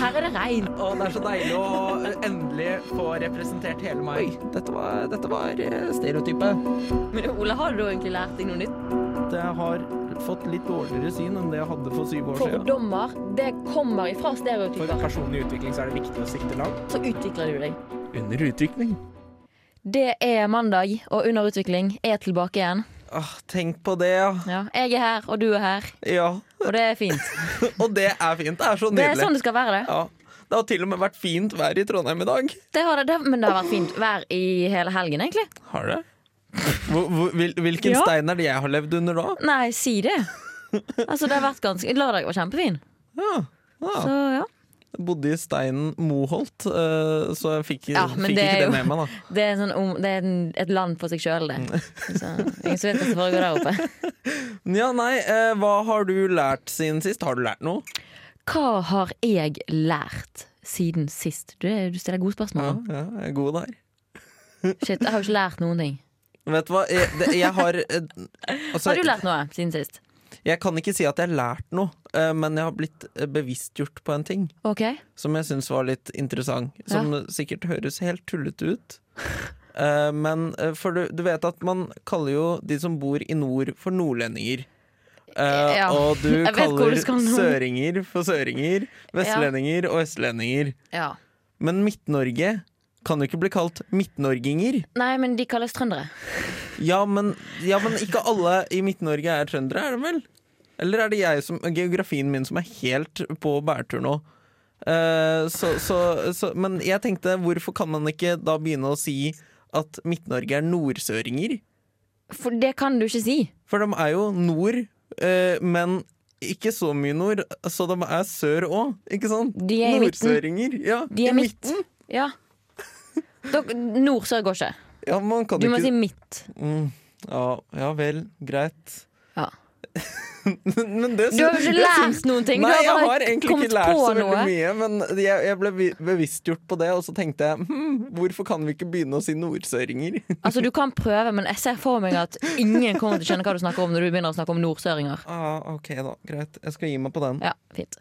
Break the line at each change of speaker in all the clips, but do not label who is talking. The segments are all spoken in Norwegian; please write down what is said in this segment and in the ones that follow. her er det regn.
Og det er så deilig å endelig få representert hele meg. Oi, dette var, dette var eh, stereotypet.
Men Ole, har du egentlig lært deg noe nytt?
Jeg har fått litt dårligere syn enn det jeg hadde for syv år siden.
Fordommer, det kommer ifra
For
stereotyper.
personlig utvikling så er det viktig å sikte langt.
Så utvikler du deg.
Under utvikling.
Det er mandag, og Under utvikling er tilbake igjen.
Åh, Ah, tenk på det, ja.
Ja, jeg er her, og du er her,
ja.
og det er fint.
Og det er fint. Det er så
Det er
nydelig.
sånn det skal være, det.
Ja. Det har til og med vært fint vær i Trondheim i dag.
det, har det, det men det har vært fint vær i hele helgen, egentlig.
Har det? Hvor, hvor, hvil, hvilken
Ja.
stein er det jeg har levd under da?
Nei, si det. Altså, det har vært ganske Lørdag var kjempefin.
Ja. Ja.
Så ja.
Jeg bodde i steinen Moholt, eh, så jeg fikk,
Ja, men
fikk
det er
ikke det
jo-
med meg, da.
Det er, sånn, om- det er en- et land for seg sjøl, det. Så, ingen som vet hva som foregår der oppe.
Ja, nei, eh, hva har du lært siden sist? Har du lært noe?
Hva har jeg lært siden sist? Du, er- du stiller gode
Ja,
spørsmål.
ja jeg er god der.
Shit, jeg har jo ikke lært noen ting.
Vet du hva, jeg, det, jeg har eh, altså,
Har du lært noe siden sist?
Jeg kan ikke si at jeg har lært noe, eh, men jeg har blitt eh, bevisstgjort på en ting
OK.
som jeg syns var litt interessant. Som sikkert høres helt tullete ut. Eh, men eh, for du, du vet at man kaller jo de som bor i nord, for nordlendinger. Eh,
Ja.
Og du
Jeg vet hvor
kaller
du skal nå.
søringer for søringer, vestlendinger og østlendinger.
Ja.
Men Midt-Norge kan jo ikke bli kalt midtnorginger.
Nei, men de kalles trøndere.
Ja, men, ja, men ikke alle i Midt-Norge er trøndere, er det vel? Eller er det jeg som, geografien min som er helt på bærtur nå? Eh, så, så, så, men jeg tenkte, hvorfor kan man ikke da begynne å si at Midt-Norge er nordsøringer?
For det kan du ikke si.
For de er jo nord, eh, men ikke så mye nord, så de er sør òg, ikke sant?
De er i midten.
Nordsøringer. Ja,
De er
i midten.
midten. Ja. Dok- Nord-sør går ikke.
Ja, man kan
Du
ikke
må si midt.
mm, ja, ja vel, greit.
Ja.
Men det
Du har jo ikke
syns- jeg syns-
lært noen ting.
Nei,
du
jeg
har
har
bare
egentlig
kommet
ikke lært
på
så veldig
noe.
mye, men jeg, jeg ble vi- bevisstgjort på det, og så tenkte jeg hm, hvorfor kan vi ikke begynne å si nordsøringer?
Altså, Du kan prøve, men jeg ser for meg at ingen kommer til å skjønne hva du snakker om når du begynner å snakke om nordsøringer.
ah, ok, da. Greit. Jeg skal gi meg på den.
Ja, fint.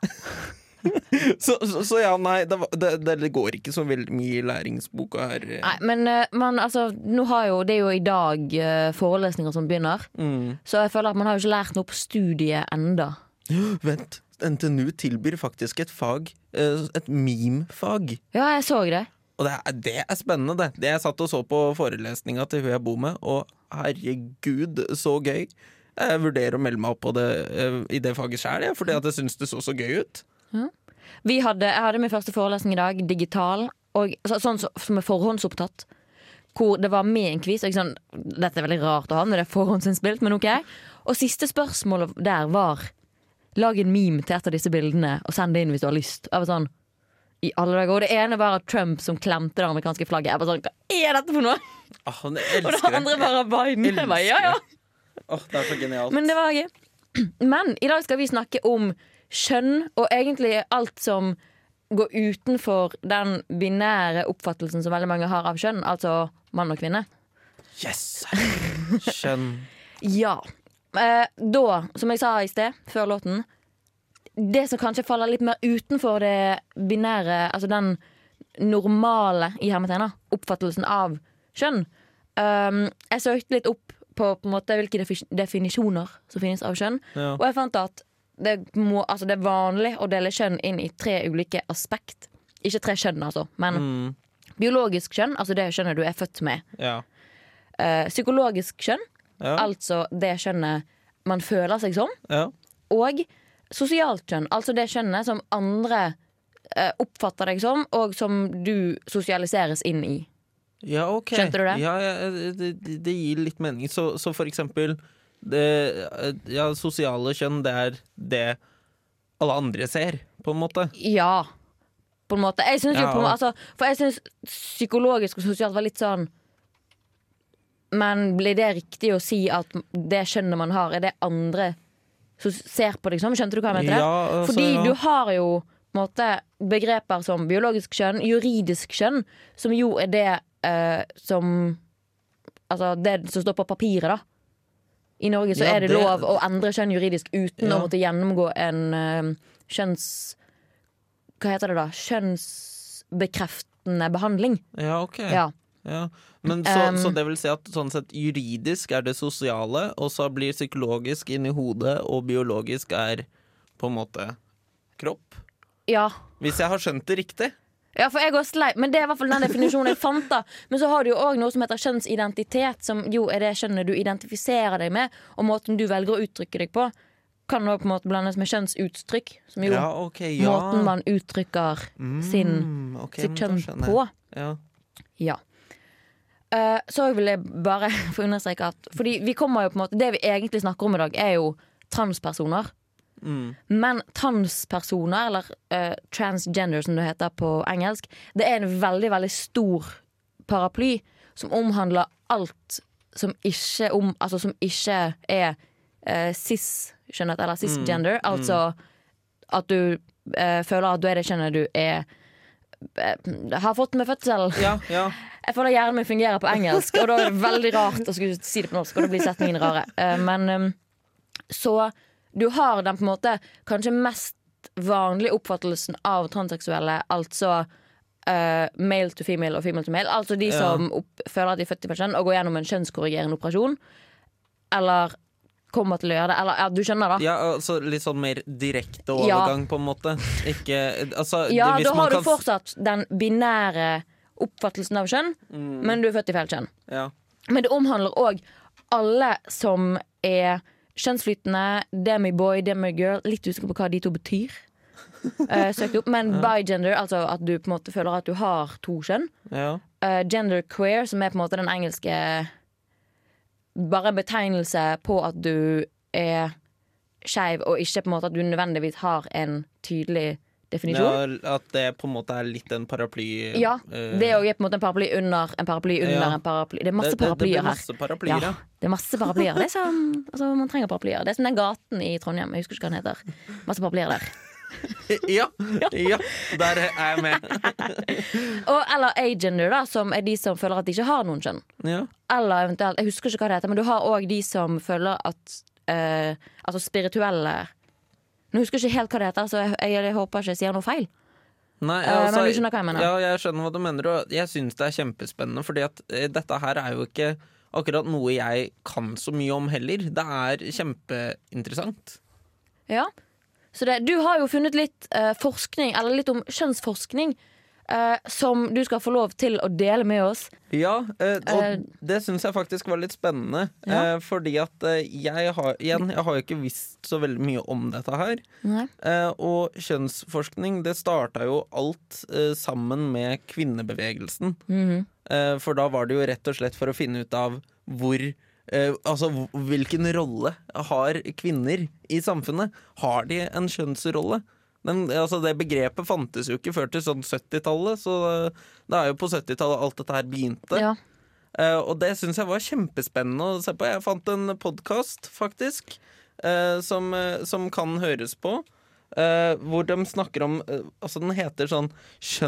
Så, så, så ja, nei, det, var- det, det går ikke så veldig mye i læringsboka her. eh.
Nei, men eh, man, altså, nå har jo, det er jo i dag eh, forelesninger som begynner,
Mm.
så jeg føler at man har jo ikke lært noe på studiet enda.
Vent, NTNU tilbyr faktisk et fag, eh, et meme-fag.
Ja, jeg så det.
Og det er, det er spennende, det. det. Jeg satt og så på forelesninga til hun jeg bor med, og herregud, så gøy. Jeg vurderer å melde meg opp på det, eh, i det faget sjøl, fordi at jeg syns det så så gøy ut.
Vi hadde, jeg hadde min første forelesning i dag, digital, og så, sånn som som er forhåndsopptatt. Hvor det var med en quiz. Og jeg sånn, dette er veldig rart å ha når det er forhåndsinnspilt, men ok. Og siste spørsmålet der var Lag en meme til et av disse bildene og send det inn hvis du har lyst. Jeg var sånn, i alle dager. Og det ene var at Trump som klemte det amerikanske flagget. Jeg var sånn, Hva er dette for noe?!
Åh, men
Og
jeg
det
Ah, elsker
andre
det.
var Biden. Jeg bare, ja, ja.
Åh, det er så genialt.
Men det var gøy. Men i dag skal vi snakke om kjønn, og egentlig alt som går utenfor den binære oppfattelsen som veldig mange har av kjønn, altså mann og kvinne.
Yes! Skjønn.
Ja. Eh, da, som jeg sa i sted, før låten Det som kanskje faller litt mer utenfor det binære, altså den normale i hermetegna, oppfattelsen av kjønn. Um, jeg søkte litt opp på, på en måte, hvilke defi definisjoner som finnes av kjønn.
Ja.
Og jeg fant at det, må, altså det er vanlig å dele kjønn inn i tre ulike aspekt. Ikke tre kjønn, altså, men
Mm,
biologisk kjønn, altså det kjønnet du er født med.
ja.
Eh, psykologisk kjønn,
Ja.
altså det kjønnet man føler seg som.
ja.
Og sosialt kjønn, altså det kjønnet som andre eh, oppfatter deg som, og som du sosialiseres inn i.
Ja, ok.
Skjønte du det?
Ja, ja, eh, det, det- det gir litt mening. Så, så for eksempel det, eh, ja, Sosiale kjønn, det er det alle andre ser, på en måte.
Ja, på en måte. Jeg synes jo
Ja.
på en måte altså, For jeg syns psykologisk og sosialt var litt sånn Men blir det riktig å si at det skjønnet man har, er det andre som ser på deg som? Skjønte du hva jeg mente?
Ja, altså,
Fordi
ja.
du har jo på en måte begreper som biologisk kjønn, juridisk kjønn, som jo er det eh, som Altså det som står på papiret, da. I Norge så
Ja,
er det,
det-
lov å endre kjønn juridisk uten
Ja.
å måtte gjennomgå en eh, kjønns Hva heter det da? Kjønnsbekreftende behandling.
Ja, ok.
Ja.
Ja. Men så,
Um,
så det vil si at sånn sett juridisk er det sosiale, og så blir psykologisk inn i hodet, og biologisk er på en måte kropp?
ja.
Hvis jeg har skjønt det riktig?
Ja, for jeg går slei, men Det er i hvert fall den definisjonen jeg fant. da Men så har du jo òg noe som heter kjønnsidentitet, som jo er det kjønnet du identifiserer deg med, og måten du velger å uttrykke deg på, kan òg på en måte blandes med kjønnsuttrykk, som jo
Ja, ok, ja.
måten man uttrykker sin,
Mm, ok, men
sitt
da
kjønn
skjønner jeg.
på.
Ja.
Ja. Eh, så vil jeg bare få understreke at Fordi vi kommer jo på en måte Det vi egentlig snakker om i dag, er jo transpersoner.
Mm.
Men transpersoner, eller eh, transgender som det heter på engelsk, det er en veldig, veldig stor paraply som omhandler alt som ikke, om, altså, som ikke er eh, cis, skjønnet, eller cisgender. Altså at du eh, føler at du er det kjønnet du er eh, har fått med fødselen.
ja, ja.
Jeg føler hjernen min fungerer på engelsk, og da er det veldig rart å skulle si det på norsk. Og da blir setningene rare. Eh, Men ehm, så du har den på en måte kanskje mest vanlige oppfattelsen av transseksuelle, altså eh, male to female og female to male. Altså de
Ja.
som opp, føler at de er født i feil kjønn og går gjennom en kjønnskorrigerende operasjon. Eller kommer til å gjøre det. Eller ja, du skjønner, da.
Ja, altså litt sånn mer direkte
Ja.
overgang, på en måte. Ikke Altså,
Ja,
hvis
da
man
har du
kan
fortsatt den binære oppfattelsen av kjønn,
Mm.
men du er født i feil kjønn.
ja.
Men det omhandler òg alle som er kjønnsflytende, demi-boy, demi-girl. Litt usikker på hva de to betyr. Eh, søkte opp. Men bigender, altså at du på en måte føler at du har to kjønn.
ja.
Eh, gender queer, som er på en måte den engelske Bare en betegnelse på at du er skeiv, og ikke på en måte at du nødvendigvis har en tydelig definisjon.
Ja, at det på en måte er litt en paraply
Ja,
eh,
det òg er på en måte en paraply under en paraply under
Ja.
en paraply. Det er
det-
masse
det- det
paraplyer
blir
her.
masse paraplyer, ja.
Det er masse paraplyer. Det er sånn, altså, man trenger paraplyer. Det er som den gaten i Trondheim. Jeg husker ikke hva den heter. Masse paraplyer der.
ja. ja. Der er jeg med.
Og, eller agender, da, som er de som føler at de ikke har noen kjønn.
Ja.
Eller eventuelt, jeg husker ikke hva det heter, men du har òg de som føler at eh, Altså spirituelle Nå husker jeg ikke helt hva det heter, så jeg, jeg, jeg håper ikke jeg sier noe feil.
Nei, altså,
Eh, men du skjønner hva jeg mener.
Ja, jeg skjønner hva du mener, og jeg syns det er kjempespennende, fordi at eh, dette her er jo ikke akkurat noe jeg kan så mye om heller. Det er kjempeinteressant.
Ja. Så det, du har jo funnet litt eh, forskning, eller litt om kjønnsforskning, eh, som du skal få lov til å dele med oss.
Ja, eh, og
Eh,
det syns jeg faktisk var litt spennende.
Ja.
Eh, fordi at eh, jeg har Igjen, jeg har jo ikke visst så veldig mye om dette her.
Nei.
Eh, og kjønnsforskning, det starta jo alt eh, sammen med kvinnebevegelsen. eh, for da var det jo rett og slett for å finne ut av hvor eh, Altså hv- hvilken rolle har kvinner i samfunnet? Har de en kjønnsrolle? Den, altså Det begrepet fantes jo ikke før til sånn 70-tallet, så eh, det er jo på 70-tallet alt dette her begynte.
Ja.
Eh, og det syns jeg var kjempespennende å se på. Jeg fant en podkast, faktisk, eh, som, eh, som kan høres på. eh, hvor de snakker om eh, Altså, den heter sånn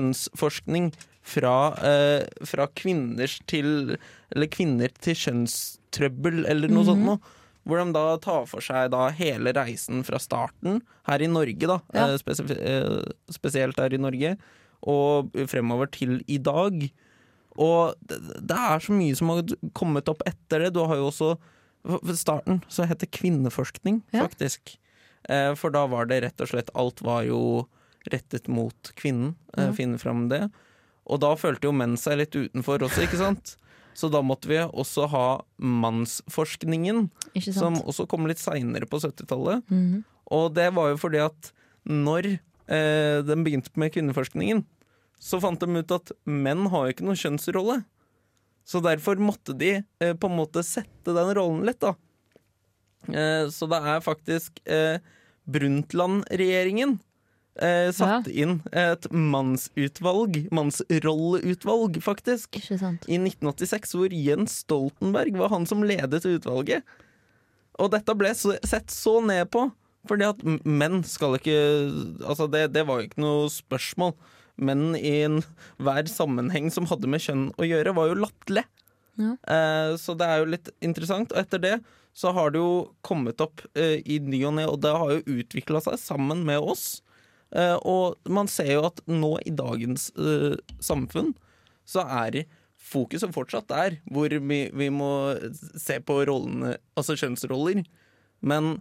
kjønnsforskning fra, eh, fra kvinners til Eller kvinner til kjønnstrøbbel, eller noe sånt noe. Hvor de da tar for seg da hele reisen fra starten, her i Norge, da.
Ja.
eh, spesif- eh, spesielt her i Norge. Og fremover til i dag. Og det, det er så mye som har kommet opp etter det. Du har jo også Ved starten så het det kvinneforskning,
Ja.
faktisk. Eh, for da var det rett og slett Alt var jo rettet mot kvinnen. Eh, finne fram det. Og da følte jo menn seg litt utenfor også, ikke sant? Så da måtte vi også ha mannsforskningen,
Ikke sant?
som også kom litt seinere på 70-tallet.
Mhm.
Og det var jo fordi at når eh, den begynte med kvinneforskningen, så fant de ut at menn har jo ikke noen kjønnsrolle. Så derfor måtte de eh, på en måte sette den rollen litt, da. Eh, så det er faktisk eh, Brundtland-regjeringen eh, satte inn et mannsutvalg, mannsrolleutvalg, faktisk,
Ikke sant.
i 1986, hvor Jens Stoltenberg var han som ledet utvalget. Og dette ble så- sett så ned på, fordi at m- menn skal ikke Altså, det, det var jo ikke noe spørsmål. Menn i en, hver sammenheng som hadde med kjønn å gjøre, var jo latterlig.
Ja.
Eh, så det er jo litt interessant. Og etter det så har det jo kommet opp eh, i ny og ne, og det har jo utvikla seg sammen med oss. Eh, og man ser jo at nå i dagens eh, samfunn så er fokuset fortsatt der hvor vi, vi må se på rollene, altså kjønnsroller, men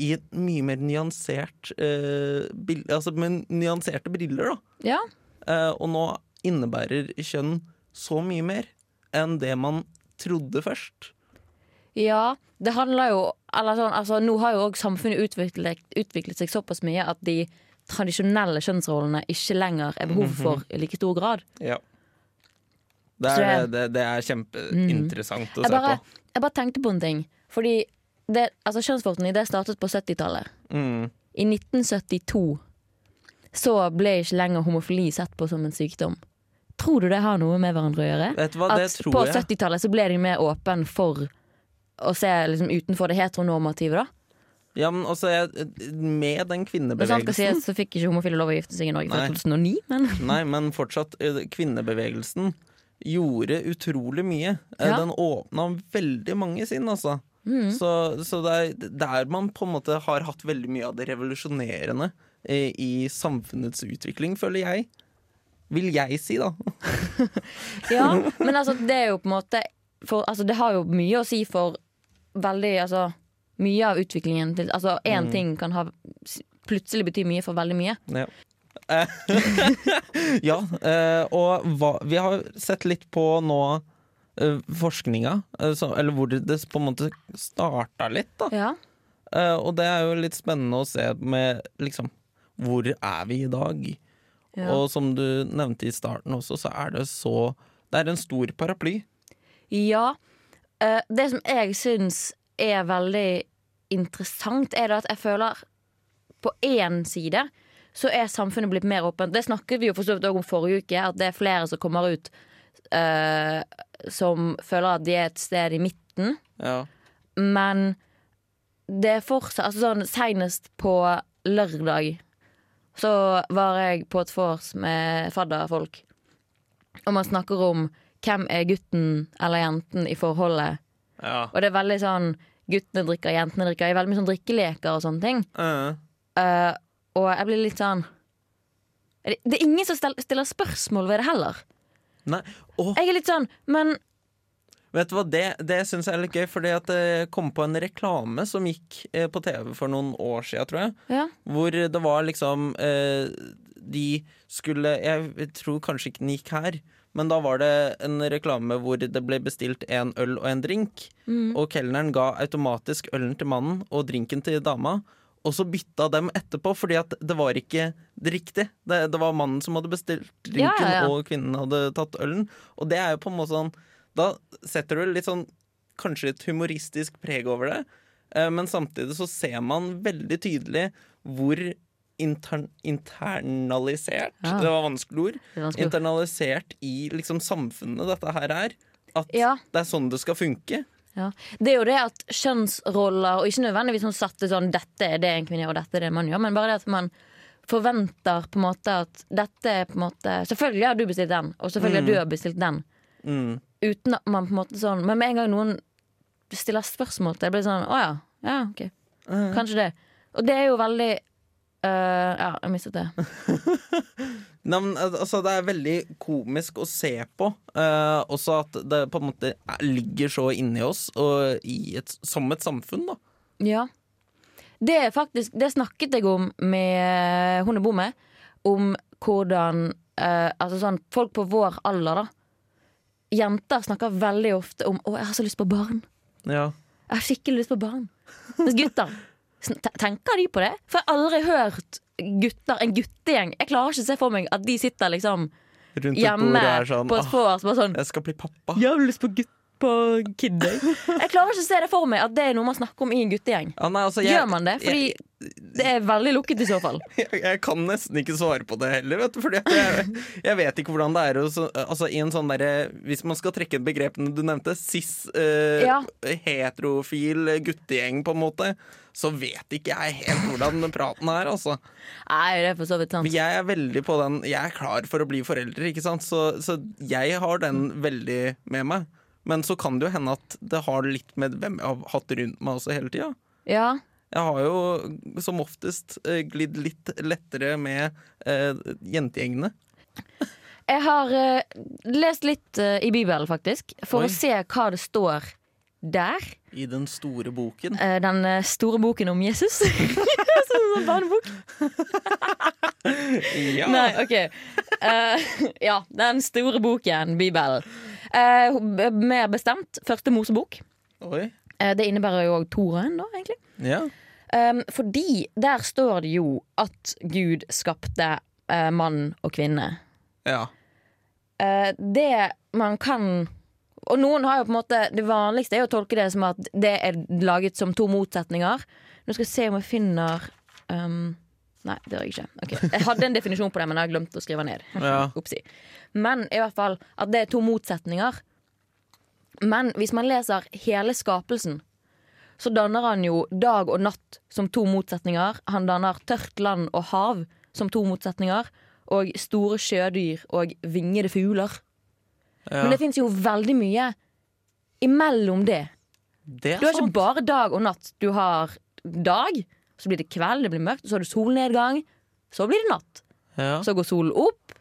i et mye mer nyansert eh, bil- Altså med nyanserte briller, da.
Ja.
Eh, og nå innebærer kjønn så mye mer enn det man trodde først.
Ja, det handler jo eller sånn, altså, Nå har jo òg samfunnet utviklet, utviklet seg såpass mye at de tradisjonelle kjønnsrollene ikke lenger er behov
Mhm.
for i like stor grad.
Det
Så
er,
jeg- Mm.
det, det er kjempeinteressant å
Jeg
se
bare, jeg bare tenkte på en ting. Fordi det, altså, kjønnsforskning det startet på 70-tallet.
på. Mm.
I 1972 så ble ikke lenger homofili sett på som en sykdom. Tror du det har noe med hverandre å gjøre?
Vet du hva, det
At på
tror jeg.
70-tallet så ble de mer åpen for å se liksom, utenfor det heteronormative, da.
Ja, men også jeg, med den
Hvis alt skal
kvinnebevegelsen
sies, så fikk ikke homofile lov å gifte seg i Norge
Nei.
før 2009, men
Nei, men fortsatt, eh, kvinnebevegelsen gjorde utrolig mye. Eh,
Ja.
Den åpna veldig mange sinn, altså. Så, så det er der man på en måte har hatt veldig mye av det revolusjonerende eh, i samfunnets utvikling, føler jeg. Vil jeg si, da.
Ja, men altså, det er jo på en måte for, altså, Det har jo mye å si for veldig altså, Mye av utviklingen til Altså, én ting kan ha s- plutselig bety mye for veldig mye.
Ja. Eh, ja, eh, og hva, vi har sett litt på nå eh, forskninga, eh, så, eller hvor det, det på en måte starta litt, da.
Ja.
Eh, og det er jo litt spennende å se med liksom Hvor er vi i dag? Og som du nevnte i starten også, så er det så Det er en stor paraply.
Ja. eh, det som jeg syns er veldig interessant, er det at jeg føler På én side så er samfunnet blitt mer åpent. Det snakket vi jo for så vidt også om forrige uke, at det er flere som kommer ut eh, som føler at de er et sted i midten.
Ja.
Men det er fortsatt altså sånn, Senest på lørdag så var jeg på et vors med fadderfolk. Og man snakker om hvem er gutten eller jenten i forholdet. Og det er veldig sånn guttene drikker, jentene drikker. Det er veldig mye sånn drikkeleker og sånne ting.
Eh,
Eh, og jeg blir litt sånn Det det er ingen som stel- stiller spørsmål ved det heller.
nei. Å,
Jeg er litt sånn, men
vet du hva, det, det syns jeg er litt gøy, fordi at det kom på en reklame som gikk eh, på TV for noen år siden, tror jeg.
Ja.
Hvor det var liksom eh, De skulle Jeg tror kanskje ikke den gikk her, men da var det en reklame hvor det ble bestilt en øl og en drink.
Mm.
Og kelneren ga automatisk ølen til mannen og drinken til dama. Og så bytta dem etterpå, fordi at det var ikke det riktig. Det, det var mannen som hadde bestilt
Ja,
drinken,
ja, ja.
og kvinnen hadde tatt ølen. Og det er jo på en måte sånn Da setter du litt sånn kanskje et humoristisk preg over det. Eh, Men samtidig så ser man veldig tydelig hvor intern, internalisert
Ja.
Det var vanskelig ord.
Det er vanskelig.
Internalisert i liksom samfunnet dette her er. At
Ja.
det er sånn det skal funke.
Ja. Det er jo det at kjønnsroller, og ikke nødvendigvis sånn satte sånn 'dette er det en kvinne gjør, og dette er det man gjør', men bare det at man forventer på en måte at dette er på en måte Selvfølgelig har du bestilt den, og selvfølgelig har du har bestilt den.
Mm.
Uten at man på en måte sånn Men med en gang noen stiller spørsmål til det, blir det sånn 'Å ja, ja, ok,
Eh,
kanskje det'. Og det er jo veldig øh, Ja, jeg mistet det.
Nei, men, al- altså, det er veldig komisk å se på. eh, også at det på en måte er- ligger så inni oss og i et, som et samfunn, da.
Ja. Det er faktisk Det snakket jeg om med eh, hun jeg bor med. Om hvordan eh, Altså sånn folk på vår alder, da. Jenter snakker veldig ofte om 'Å, jeg har så lyst på barn'.
Ja.
Jeg har skikkelig lyst på barn. Mens gutter sn- te- Tenker de på det? For jeg har aldri hørt gutter, en guttegjeng Jeg klarer ikke å se for meg at de sitter liksom
Rundt et bord
hjemme
er sånn
på et
«Ah,
vors bare sånn
Jeg skal bli pappa.
Jeg har lyst på gutt på kid. Jeg klarer ikke å se det for meg at det er noe man snakker om i en guttegjeng.
Ja, nei, altså,
Gjør man det? Fordi det er veldig lukket i så fall.
jeg, jeg kan nesten ikke svare på det heller, vet du. Fordi at jeg, jeg vet ikke hvordan det er å så- altså, i en sånn derre Hvis man skal trekke ut begrepene du nevnte, cis, eh,
Ja.
heterofil guttegjeng, på en måte, så vet ikke jeg helt hvordan praten er, altså.
Nei, det er for så vidt
Men
sant.
jeg er veldig på den Jeg er klar for å bli forelder, ikke sant? Så, så jeg har den veldig med meg. Men så kan det jo hende at det har litt med hvem jeg har hatt rundt meg også hele tida.
Ja.
Jeg har jo som oftest eh, glidd litt lettere med eh, jentegjengene.
Jeg har eh, lest litt eh, i Bibelen, faktisk, for
Oi.
å se hva det står der.
I den store boken.
Eh, den eh, store boken om Jesus. sånn som barnebok.
Ja.
Nei, OK. Eh, ja, den store boken, Bibelen. Eh, ho- mer bestemt første Mosebok.
Oi.
Eh, det innebærer jo òg Toraen, da, egentlig.
Ja.
Um, fordi der står det jo at Gud skapte eh, mann og kvinne.
ja.
Eh, det man kan Og noen har jo på en måte Det vanligste er jo å tolke det som at det er laget som to motsetninger. Nå skal jeg se om jeg finner um, Nei, det gjør jeg ikke. Ok. Jeg hadde en definisjon på det, men jeg har glemt å skrive ned.
Ja.
Oppsi. Men i hvert fall at det er to motsetninger. Men hvis man leser hele skapelsen, så danner han jo dag og natt som to motsetninger. Han danner tørt land og hav som to motsetninger. Og store sjødyr og vingede fugler.
ja.
Men det fins jo veldig mye imellom det.
Det er
Du har ikke
sant.
bare dag og natt. Du har dag, så blir det kveld, det blir mørkt, så har du solnedgang. Så blir det natt.
Ja.
Så går solen opp.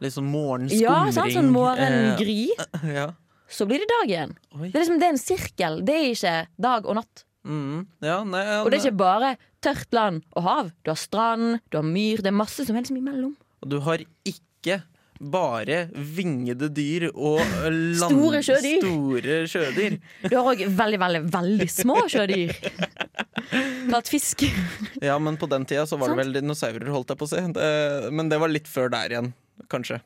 Litt sånn morgenskumring.
Ja, sant? Sånn morgengry.
Eh, ja.
Så blir det dag igjen.
Oi.
Det er, liksom, det er en sirkel. Det er ikke dag og natt.
Mm. ja, nei, ja,
Og det er ikke bare tørt land og hav. Du har strand, du har myr. Det er masse som er liksom imellom.
Og du har ikke bare vingede dyr og land...
Store sjødyr.
Store sjødyr.
Du har òg veldig, veldig, veldig små sjødyr. Tatt fisk.
Ja, men på den tida så var
Sant.
det vel dinosaurer, holdt jeg på å si. Eh, Men det var litt før der igjen, kanskje.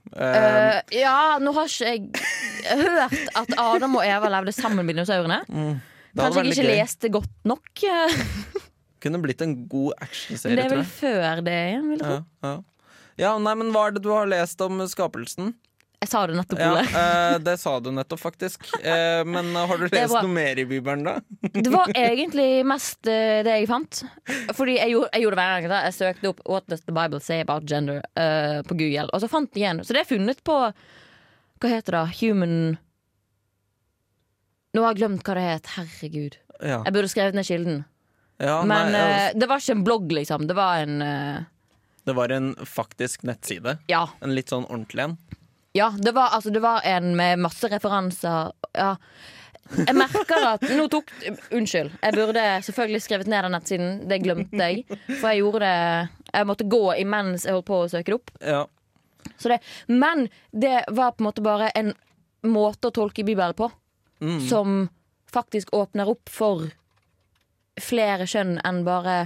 Eh,
Eh, ja, nå har ikke jeg hørt at Adam og Eva levde sammen med dinosaurene.
det hadde
Kanskje
vært
jeg
litt
ikke
gøy.
leste godt nok. eh,
Kunne blitt en god
Men det
actionserie,
er
tror
vel
jeg.
før det igjen, vil jeg tro.
Ja, ja. ja, nei, men hva er det du har lest om skapelsen?
Jeg sa det nettopp,
Ja,
Ole.
eh, det sa du nettopp, faktisk. Eh, men har du
er
lest
bra.
noe mer i Bibelen, da?
Det var egentlig mest eh, det jeg fant. Fordi jeg gjorde, jeg gjorde det hver gang. Da. Jeg søkte opp 'What does the Bible say about gender?' eh, på Google, og så fant jeg igjen. Så det er funnet på Hva heter det? Human Nå har jeg glemt hva det het. Herregud.
Ja.
Jeg burde skrevet ned kilden.
Ja, altså.
Men
nei,
eh, det var ikke en blogg, liksom. Det var en eh,
Det var en faktisk nettside.
Ja.
En litt sånn ordentlig en.
Ja, det var, altså, det var en med masse referanser. Ja. Jeg merker at Nå tok Unnskyld. Jeg burde selvfølgelig skrevet ned den nettsiden. Det glemte jeg. For jeg gjorde det Jeg måtte gå imens jeg holdt på å søke det opp.
Ja.
Så det, men det var på en måte bare en måte å tolke Bibelen på
Mm.
som faktisk åpner opp for flere kjønn enn bare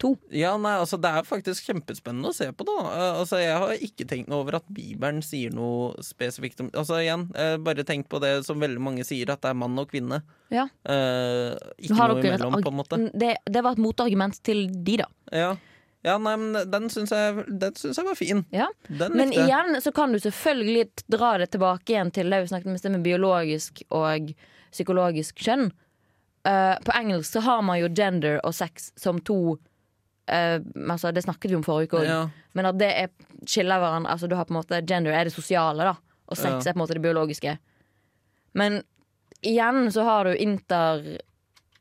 to.
Ja, nei, altså Det er faktisk kjempespennende å se på. da Eh, Altså Jeg har ikke tenkt noe over at Bibelen sier noe spesifikt om Altså igjen, eh, Bare tenk på det som veldig mange sier, at det er mann og kvinne.
Ja.
Eh, ikke
Nå har
noe
dere et
imellom,
arg-
på en måte.
Det, det var et motargument til de, da.
Ja, ja nei, men den syns jeg, den syns jeg var fin.
Ja.
Den
Men
likte jeg.
igjen så kan du selvfølgelig dra det tilbake igjen til det vi snakket om i sted med biologisk og psykologisk kjønn. Eh, på engelsk så har man jo gender og sex som to eh, altså Det snakket vi om forrige uke òg,
Ja.
men at det er skiller hverandre. Altså du har på en måte Gender er det sosiale, da, og sex
Ja.
er på en måte det biologiske. Men igjen så har du inter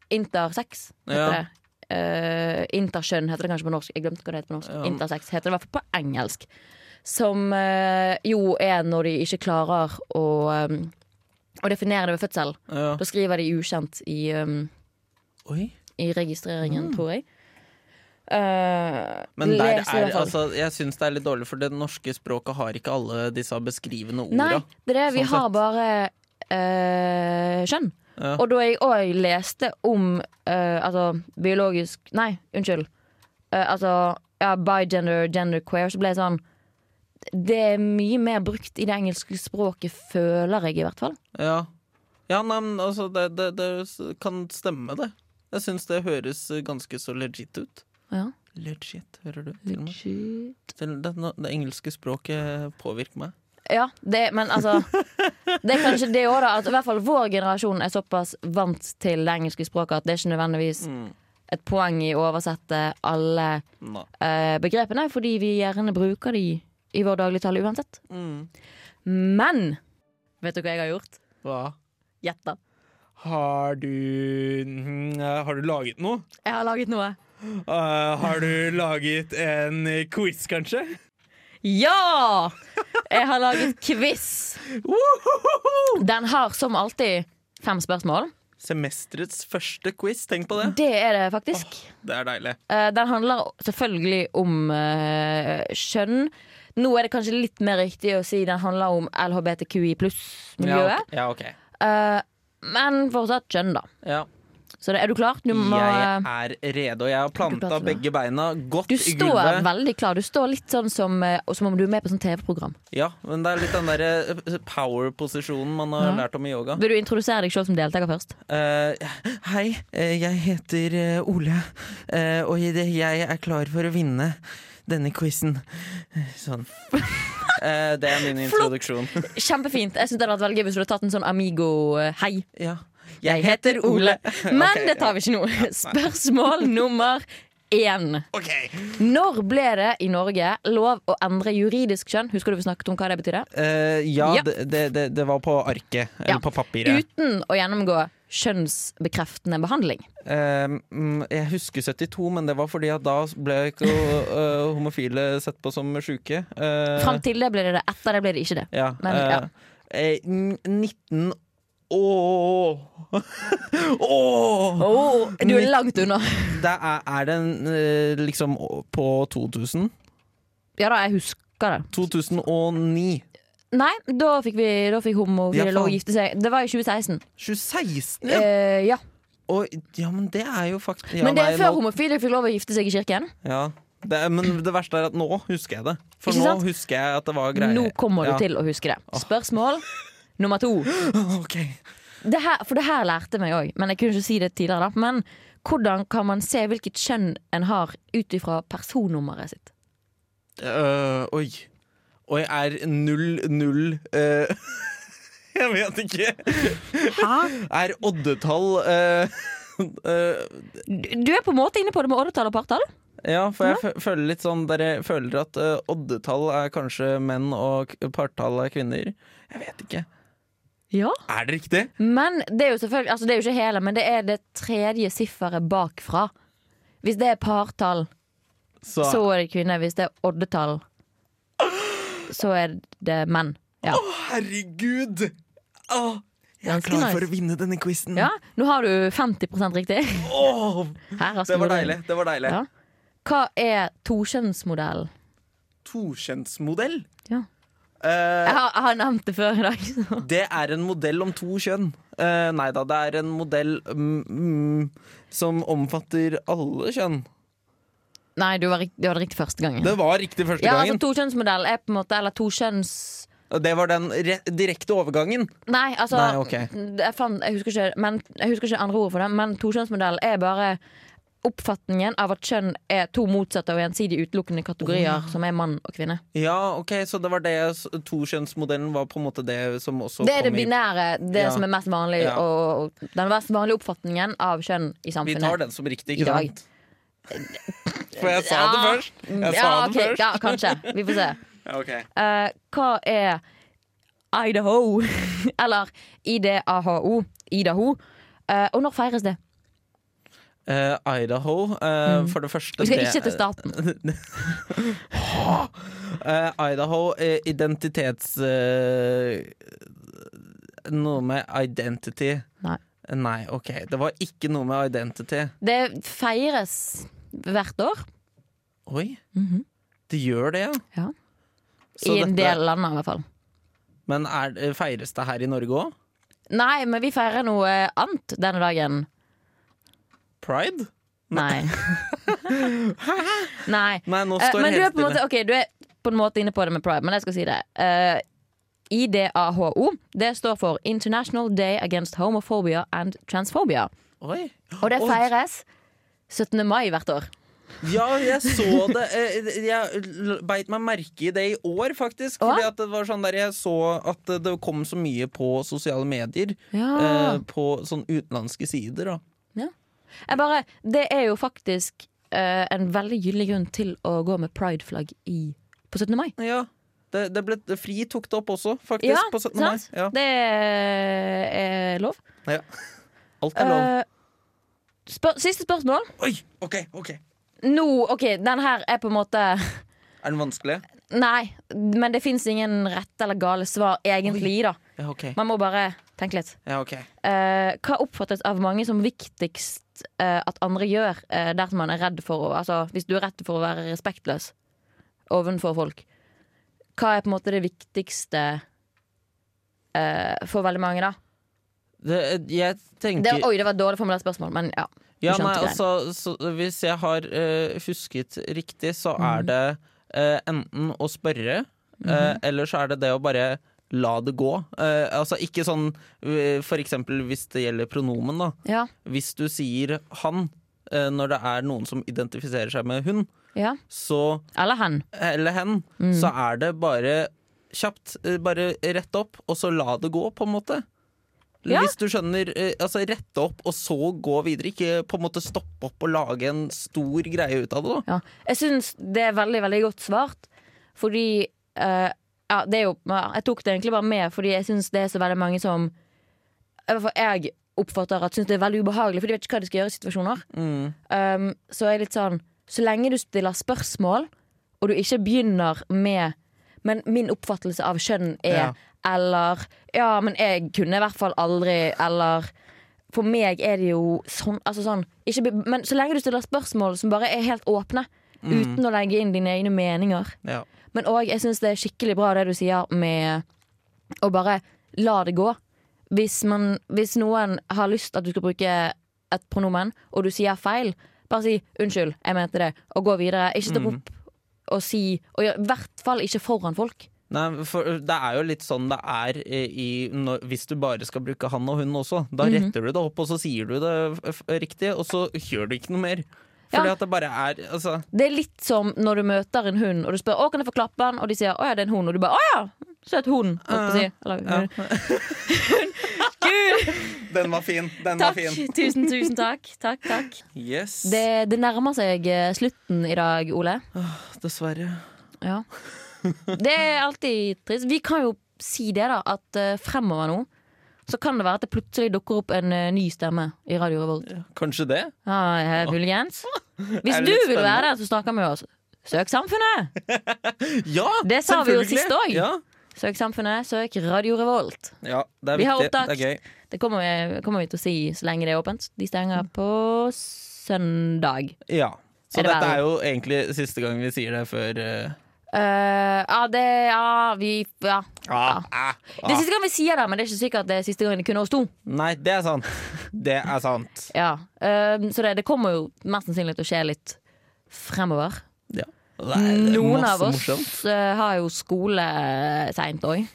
intersex, heter
Ja.
det. Eh, interkjønn heter det kanskje på norsk. Jeg glemte hva det heter på norsk.
Ja.
Intersex heter det i hvert fall på engelsk. Som eh, jo er når de ikke klarer å, um, å definere det ved fødsel.
Ja.
Da skriver de ukjent i, um,
Oi.
i registreringen, tror jeg. Eh,
Mm. Men der
les i hvert
er,
fall.
altså, jeg syns det er litt dårlig, for det norske språket har ikke alle disse beskrivende
Nei,
orda.
det er det. Vi
sånn
har
sett.
bare eh, kjønn.
Ja.
Og da jeg òg leste om eh, altså biologisk Nei, unnskyld. Eh, altså ja, bigender, genderqueer, så ble jeg sånn Det er mye mer brukt i det engelske språket, føler jeg i hvert fall.
Ja, ja nei, men altså det, det, det s- kan stemme, det. Jeg syns det høres eh, ganske så legit ut.
Ja.
Legit, hører du? Til og med.
Legit.
Til det, nå- det engelske språket påvirker meg.
Ja, det, men altså Det er kanskje det òg, da. At i hvert fall vår generasjon er såpass vant til det engelske språket at det er ikke nødvendigvis
Mm.
et poeng i å oversette alle
Nei.
eh, begrepene, fordi vi gjerne bruker de i vår dagligtale uansett.
Mm.
Men vet du hva jeg har gjort?
Hva?
Gjett da.
Har du mm, Har du laget noe?
Jeg har laget noe.
Eh, har du laget en quiz, kanskje?
Ja! Jeg har laget quiz.
Wohohoho!
Den har som alltid fem spørsmål.
Semesterets første quiz, tenk på det.
Det er det faktisk.
Det er deilig.
Eh, Den handler selvfølgelig om eh, kjønn. Nå er det kanskje litt mer riktig å si den handler om LHBTQI pluss-miljøet.
Ja, ok. Ja, ok.
Eh, Men fortsatt kjønn, da.
Ja.
Så det, er du klar? Du, må,
Jeg er rede, og jeg har
Du
planta
prater da.
begge beina godt
du
i
står
gulvet.
veldig klar. Du står litt sånn som, eh, som om du er med på sånn TV-program.
Ja, men det er litt den derre power-posisjonen man har
Ja.
lært om i yoga.
Vil du introdusere deg selv som deltaker først?
Eh, hei, eh, jeg heter eh, Ole, eh, og i det jeg er klar for å vinne denne quizen. Sånn. Eh, det er min
Flott.
introduksjon.
Kjempefint. Jeg synes det hadde vært veldig gøy hvis du hadde tatt en sånn Amigo-hei.
Ja. Jeg heter Ole.
Men
Ok,
det tar vi ikke nå. Spørsmål nummer én.
ja. Ok.
Når ble det i Norge lov å endre juridisk kjønn? Husker du vi snakket om hva det betydde?
Eh, ja,
Ja.
Det, det- det, det var på arket. Eller
Ja.
på papiret.
Uten å gjennomgå kjønnsbekreftende behandling.
Eh, mm, jeg husker 72, men det var fordi at da ble ikke eh, homofile sett på som sjuke. Eh,
Fram til det ble det det, etter det ble det ikke det.
Ja.
Men,
eh,
ja.
eh, n- 19 Ååå! Ååå!
Oh, du er langt unna.
Det er, er den eh, liksom å- på 2000?
Ja da, jeg husker det.
2009.
Nei, da fikk, vi, da fikk homofile
Ja, faen.
lov å gifte seg. Det var i 2016.
2016,
Ja.
ja!
ja.
Oi, ja, men det er jo faktisk ja,
Men det
nei,
er før
nå-
homofile fikk lov å gifte seg i kirken.
ja. det, er- Men det verste er at nå husker jeg det. For
Ikke
nå
sant?
husker jeg at det var greier.
Nå kommer du
ja.
til å huske det. Spørsmål nummer to.
Ok.
det her, for det her lærte meg òg, men jeg kunne ikke si det tidligere. da Men hvordan kan man se hvilket kjønn en har ut ifra personnummeret sitt?
Øh, oi. Oi, er null null øh, Jeg vet ikke. Er oddetall øh, øh,
Du du er på en måte inne på det med oddetall og partall.
Ja, for jeg fø- føler litt sånn Dere føler at øh, oddetall er kanskje menn, og k- partall er kvinner. Jeg vet ikke.
Ja.
Er det riktig?
Men det er jo selvfølgelig Altså det er jo ikke hele, men det er det tredje sifferet bakfra. Hvis det er partall,
Så,
så er det kvinner. Hvis det er oddetall, så er det menn. Ja.
Herregud! Åh, jeg er
Ganske
klar
nice.
for å vinne denne quizen.
ja. Nå har du 50 riktig.
Åh,
Her, Aspen,
det
går du
var
inn.
deilig. Det var deilig.
Ja. Hva er tokjønnsmodellen?
Tokjønnsmodell.
Ja.
Eh,
Jeg har, jeg har nevnt det før i dag. Så.
Det er en modell om to kjønn. Uh, nei da, det er en modell mm, mm, som omfatter alle kjønn.
Nei, du, var, rikt- du hadde riktig første gangen.
Det var riktig første
ja, altså
gangen.
Tokjønnsmodell er på en måte Eller tokjønns...
Det var den re direkte overgangen.
Nei, altså
Nei, ok.
jeg, fant, jeg, husker ikke, men, jeg husker ikke andre ord for det, men tokjønnsmodell er bare oppfatningen av at kjønn er to motsatte og gjensidig utelukkende kategorier som er mann og kvinne.
Ja, ok, Så det var det s- tokjønnsmodellen var på en måte det som også
Det er det
kom i
binære, det
Ja.
som er mest vanlig,
Ja.
og, og den mest vanlige oppfatningen av kjønn i
Vi
samfunnet.
tar den som riktig,
I
ikke
dag.
sant? For jeg sa det
Ja.
først. Jeg
Mm, ja,
sa det
ok,
først.
ja, kanskje. Vi får se.
Ja, ok.
Eh, hva er Idaho? Eller IDAHO. Idaho. Eh, og når feires det?
Eh, Idaho, eh, for det første
Vi skal
det-
Mm. ikke til staten.
Eh, Idaho eh, identitets... eh, noe med identity.
Nei.
Nei, ok. Det var ikke noe med identity.
Det feires hvert år.
Oi. Det gjør det, ja.
Ja.
Så
Mhm. I en
dette-
del land, i hvert fall.
Men er, eh, feires det her i Norge òg?
Nei, men vi feirer noe annet denne dagen.
Pride?
Nei. Nei.
Nei, nå
Eh,
står
men
det
du er,
helt
på en måte,
stille.
ok, du er på en måte inne på det med pride, men jeg skal si det. Eh, IDAHO det står for International Day Against Homophobia and Transphobia.
Oi.
Og det
Oi.
feires 17. mai hvert år.
Ja, jeg så det. Eh, Jeg l- beit meg merke i det i år, faktisk.
Å?
Fordi at det var sånn der Jeg så at det kom så mye på sosiale medier.
Ja.
eh, på sånn utenlandske sider, da.
Jeg bare, det er jo faktisk eh, en veldig gyldig grunn til å gå med prideflagg i- på 17. mai.
Ja. Det, det ble, det fri tok det opp også, faktisk,
Ja,
på 17. mai.
sant?
Ja.
Det er lov.
Ja. Alt er lov.
Eh, spør, siste spørsmål.
Oi! OK, ok.
Nå, OK, den her er på en måte
Er den vanskelig?
Nei, men det fins ingen rette eller gale svar egentlig, da.
Ja, OK.
Man må bare tenke litt.
Ja, ok.
Eh, hva oppfattes av mange som viktigst eh, at andre gjør eh, dersom man er redd for å Altså hvis du er redd for å være respektløs ovenfor folk, hva er på en måte det viktigste eh, for veldig mange, da?
Det, jeg
Det,
tenker
oi, det var et dårlig formulert spørsmål, men ja.
Ja,
skjønte
nei,
greia.
altså, så, Hvis jeg har eh, husket riktig, så er det eh, enten å spørre, eh, eller så er det det å bare la det gå. Eh, altså ikke sånn eh, For eksempel hvis det gjelder pronomen, da.
Ja.
Hvis du sier 'han' eh, når det er noen som identifiserer seg med 'hun',
ja.
så
Eller hen.
eller hen,
Mm.
så er det bare kjapt. eh, Bare rett opp, og så la det gå, på en måte.
Ja.
Hvis du skjønner, eh, altså rette opp og så gå videre. Ikke på en måte stoppe opp og lage en stor greie ut av det. da
Ja. Jeg syns det er veldig, veldig godt svart. Fordi eh, ja, det er jo, Jeg tok det egentlig bare med fordi jeg syns det er så veldig mange som I hvert fall jeg oppfatter at syns det er veldig ubehagelig, for de vet ikke hva de skal gjøre i situasjoner. Um, så jeg er litt sånn Så lenge du stiller spørsmål, og du ikke begynner med Men min oppfattelse av kjønn er
Ja.
Eller Ja, men jeg kunne i hvert fall aldri Eller For meg er det jo sånn, altså sånn ikke, be- Men så lenge du stiller spørsmål som bare er helt åpne, uten å legge inn dine egne meninger
Ja.
men òg, jeg syns det er skikkelig bra det du sier med å bare la det gå. Hvis, man, hvis noen har lyst at du skal bruke et pronomen, og du sier feil, bare si 'unnskyld, jeg mente det', og gå videre. Ikke stopp opp og si Og gjør- i hvert fall ikke foran folk.
Nei, for Det er jo litt sånn det er eh, i, når, hvis du bare skal bruke han og hun også. Da
Mhm.
retter du det opp, og så sier du det f- f- riktig, og så gjør du ikke noe mer. Fordi
Ja.
at det bare er altså,
Det er litt som når du møter en hund, og du spør 'å, kan jeg få klappe den?' og de sier 'å ja, det er en hund', og du bare 'å ja, søt hund'. holdt på å si. Eller, Gud!
Den var fin! Den
Takk. Tusen, tusen takk. Takk, takk.
Yes.
Det, det nærmer seg eh, slutten i dag, Ole.
Dessverre.
Ja. Det er alltid trist. Vi kan jo si det, da, at eh, fremover nå så kan det være at det plutselig dukker opp en eh, ny stemme i Radio Revolt.
Kanskje det?
Ja, eh, muligens. Hvis
Er det
du
litt
vil
spennende?
være der som snakker med oss, søk Samfunnet!
Ja,
Det sa vi jo
selvfølgelig.
sist også.
Ja.
Søk Samfunnet, søk Radio Revolt.
ja, det er
Vi har
viktig.
opptak.
Det er gøy.
Det kommer vi, kommer vi til å si så lenge det er åpent. De stenger på søndag.
Ja. Så
Er det
dette
verre?
er jo egentlig siste gang vi sier det før eh,
Eh, ja, det Ja, vi Ja. ja.
ah, ah,
Det er
ah.
siste gang vi sier det, men det er ikke sikkert det er siste gang det kunne oss to.
Nei, det er sant. Det er sant.
Ja, ehm, så det, det kommer jo mest sannsynlig til å skje litt fremover.
Ja. Det er, det er
Noen
masse
av oss
morsomt.
eh, har jo skole eh, seint òg.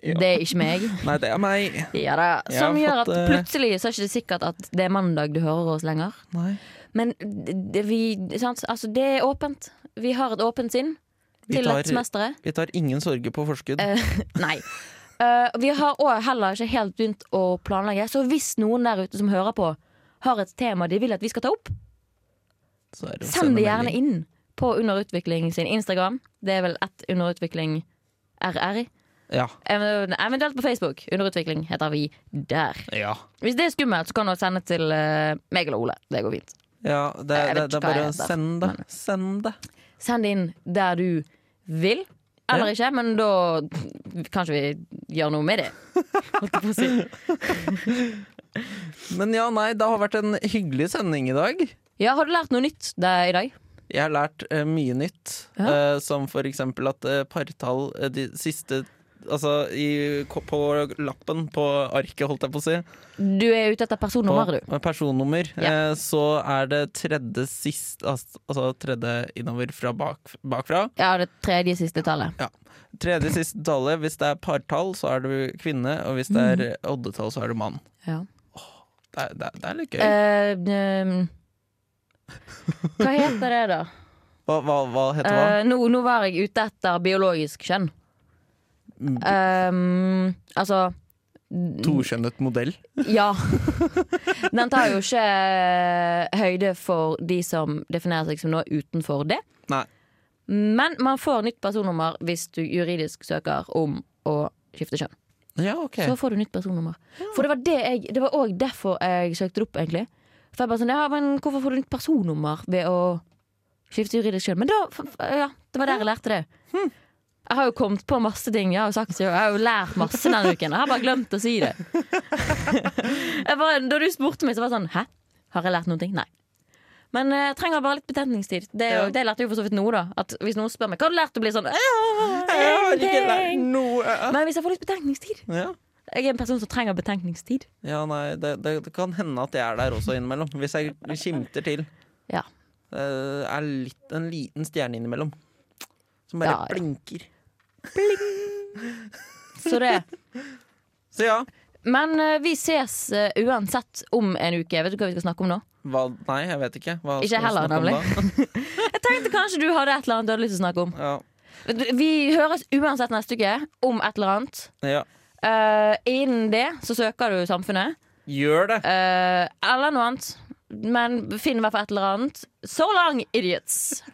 Ja.
Det er ikke meg.
Nei, det er meg.
Ja, da.
Jeg har
Som gjør at
fått, eh,
plutselig så er ikke det sikkert at det er mandag du hører oss lenger.
Nei.
Men det, vi, sant? Altså, det er åpent. Vi har et åpent sinn
Vi
til
tar-
dette semesteret.
Vi tar ingen sorger på forskudd.
Nei. Eh, vi har òg heller ikke helt begynt å planlegge, så hvis noen der ute som hører på, har et tema de vil at vi skal ta opp,
Så er å
Send
sende
det gjerne
melding.
inn på Underutvikling sin Instagram. Det er vel ett Underutvikling RR.
Ja.
Ev- Eventuelt på Facebook. Underutvikling heter vi der.
ja.
Hvis det er skummelt, så kan du sende til eh, meg eller Ole. Det går fint.
Ja, det,
Jeg vet ikke
det, det er
hva
bare
jeg
å
heter,
sende det. Send det.
Send det inn der du vil. Eller ikke, men da kanskje vi gjør noe med det. Holdt jeg på å si.
Men ja, nei, det har vært en hyggelig sending i dag.
Ja, har du lært noe nytt der i dag?
Jeg har lært eh, mye nytt,
Ja.
eh, som for eksempel at eh, partall eh, de siste Altså i, ko- på lappen, på arket, holdt jeg på å si,
Du er ute etter
på
personnummer, du.
personnummer,
Ja.
eh, så er det tredje sist Altså altså tredje innover fra bak, bakfra.
Ja, det tredje siste tallet.
Ja. Tredje siste tallet. Hvis det er partall, så er du kvinne, og hvis det er
Mhm.
oddetall, så er du mann.
Ja.
Det er, det er, det er litt gøy.
Eh, ehm, hva heter det, da?
Hva, hva, hva heter hva?
Eh, nå, nå var jeg ute etter biologisk kjønn. Ehm, altså
Tokjønnet modell.
Ja. Den tar jo ikke eh, høyde for de som definerer seg som noe utenfor det.
Nei.
Men man får nytt personnummer hvis du juridisk søker om å skifte kjønn.
Ja, ok.
Så får du nytt personnummer. For det var det jeg Det var òg derfor jeg søkte det opp, egentlig. For jeg bare sånn Ja, men hvorfor får du nytt personnummer ved å skifte juridisk kjønn? Men da f- f- Ja, det var der jeg lærte det.
Hm.
Jeg har jo kommet på masse ting. Jeg har jo sagt Jeg har jo lært masse denne uken. Jeg har bare glemt å si det. jeg bare, da du spurte meg, så var det sånn Hæ? Har jeg lært noen ting? Nei. Men eh, jeg trenger bare litt betenkningstid. Det, er jo,
Ja.
det lærte jeg jo for så vidt nå, da. At hvis noen spør meg hva har du lært, å bli sånn «Jeg
Jeg har
har
ikke lært
ingenting!»
noe.
Men hvis jeg får litt betenkningstid
Ja.
jeg er en person som trenger betenkningstid.
ja, nei, det, det, det kan hende at jeg er der også innimellom. Hvis jeg kimter til.
Ja.
Det er litt, en liten stjerne innimellom. Som bare
Ja, ja.
blinker.
Så det.
Så ja.
Men eh, vi ses eh, uansett om en uke. Vet du hva vi skal snakke om nå?
Hva? Nei, jeg vet ikke. Hva
Ikke
skal vi
heller,
snakke om
nemlig.
da?
Jeg tenkte kanskje du hadde et eller annet du hadde lyst til å snakke om.
Ja.
Vi høres uansett neste uke om et eller annet.
ja.
Eh, innen det så søker du Samfunnet.
Gjør det!
Eh, eller noe annet. Men finn i hvert fall et eller annet. So long, idiots!